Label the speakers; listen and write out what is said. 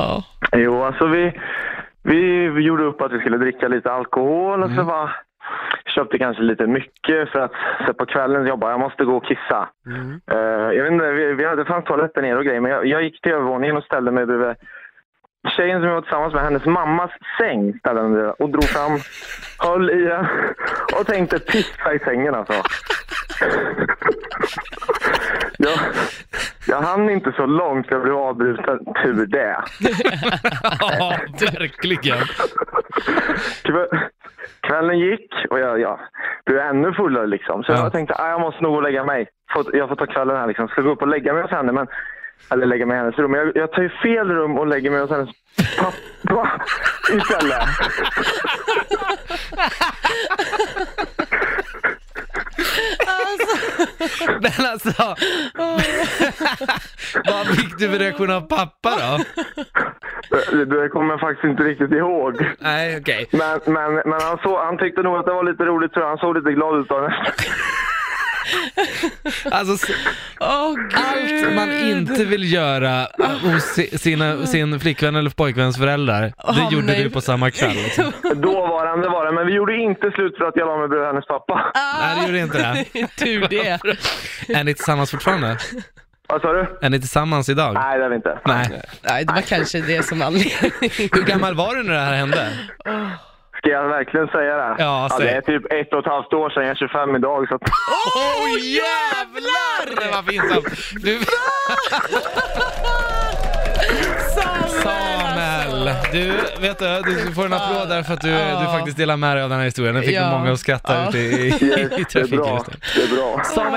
Speaker 1: Ja.
Speaker 2: Jo, alltså vi, vi gjorde upp att vi skulle dricka lite alkohol och så var, köpte kanske lite mycket för att så på kvällen jobba. Jag måste gå och kissa.
Speaker 3: Mm.
Speaker 2: Eh, jag vet inte, vi, vi hade, det fanns toaletter ner och grejer, men jag, jag gick till övervåningen och ställde mig bredvid tjejen som jag var tillsammans med, hennes mammas säng ställde jag mig bredvid och drog fram, höll i den och tänkte pissa i sängen alltså. Jag, jag hann inte så långt, jag blev avbruten. Tur det.
Speaker 3: ja, verkligen.
Speaker 2: Kväll- Kvällen gick och jag, jag blev ännu fullare liksom. Så
Speaker 3: Ja.
Speaker 2: jag tänkte, "Ah, jag måste nog gå och lägga mig. Får- Jag får ta kvällen här liksom. Ska gå upp och lägga mig hos henne, men... Eller lägga mig i hennes rum. Men jag, jag tar ju fel rum och lägger mig hos hennes pappa istället.
Speaker 3: Men alltså, vad fick du för reaktion av pappa då?
Speaker 2: Det- Det kommer jag faktiskt inte riktigt ihåg.
Speaker 3: Nej, okej.
Speaker 2: Men, men, men han, så, han tyckte nog att det var lite roligt tror jag. Han såg lite glad ut av det.
Speaker 3: Alltså, s-
Speaker 1: Åh gud.
Speaker 3: allt man inte vill göra ah, hos si- sina, sin flickvän eller pojkväns föräldrar,
Speaker 1: Hamna
Speaker 3: det gjorde
Speaker 1: i-
Speaker 3: du på samma kväll. Liksom.
Speaker 2: Dåvarande var det, men vi gjorde inte slut för att jag la mig bredvid hennes pappa.
Speaker 3: Nej, det gjorde inte det.
Speaker 1: Ah. Tur det.
Speaker 3: Är ni tillsammans fortfarande?
Speaker 2: Vad sa du?
Speaker 3: Är ni tillsammans idag?
Speaker 2: Nej, det är vi inte.
Speaker 3: Nej.
Speaker 1: Nej, det var kanske det som anledning.
Speaker 3: Hur gammal var du när det här hände?
Speaker 2: Ska jag verkligen säga det?
Speaker 3: Ja, säg.
Speaker 2: det är typ ett och ett halvt år sedan. Jag är 25 idag. Så att...
Speaker 3: Åh oh, jävlar! Det var pinsamt. Du... Samuel! Du, vet du, du får en applåd där för att du,
Speaker 1: Ja.
Speaker 3: du faktiskt delar med dig av den här historien. Den fick
Speaker 1: Ja.
Speaker 3: många att skratta
Speaker 1: Ja.
Speaker 3: ute i, i, i
Speaker 2: det är
Speaker 3: trafiken
Speaker 2: bra.
Speaker 3: just nu.
Speaker 2: Det är bra.
Speaker 3: Samuel,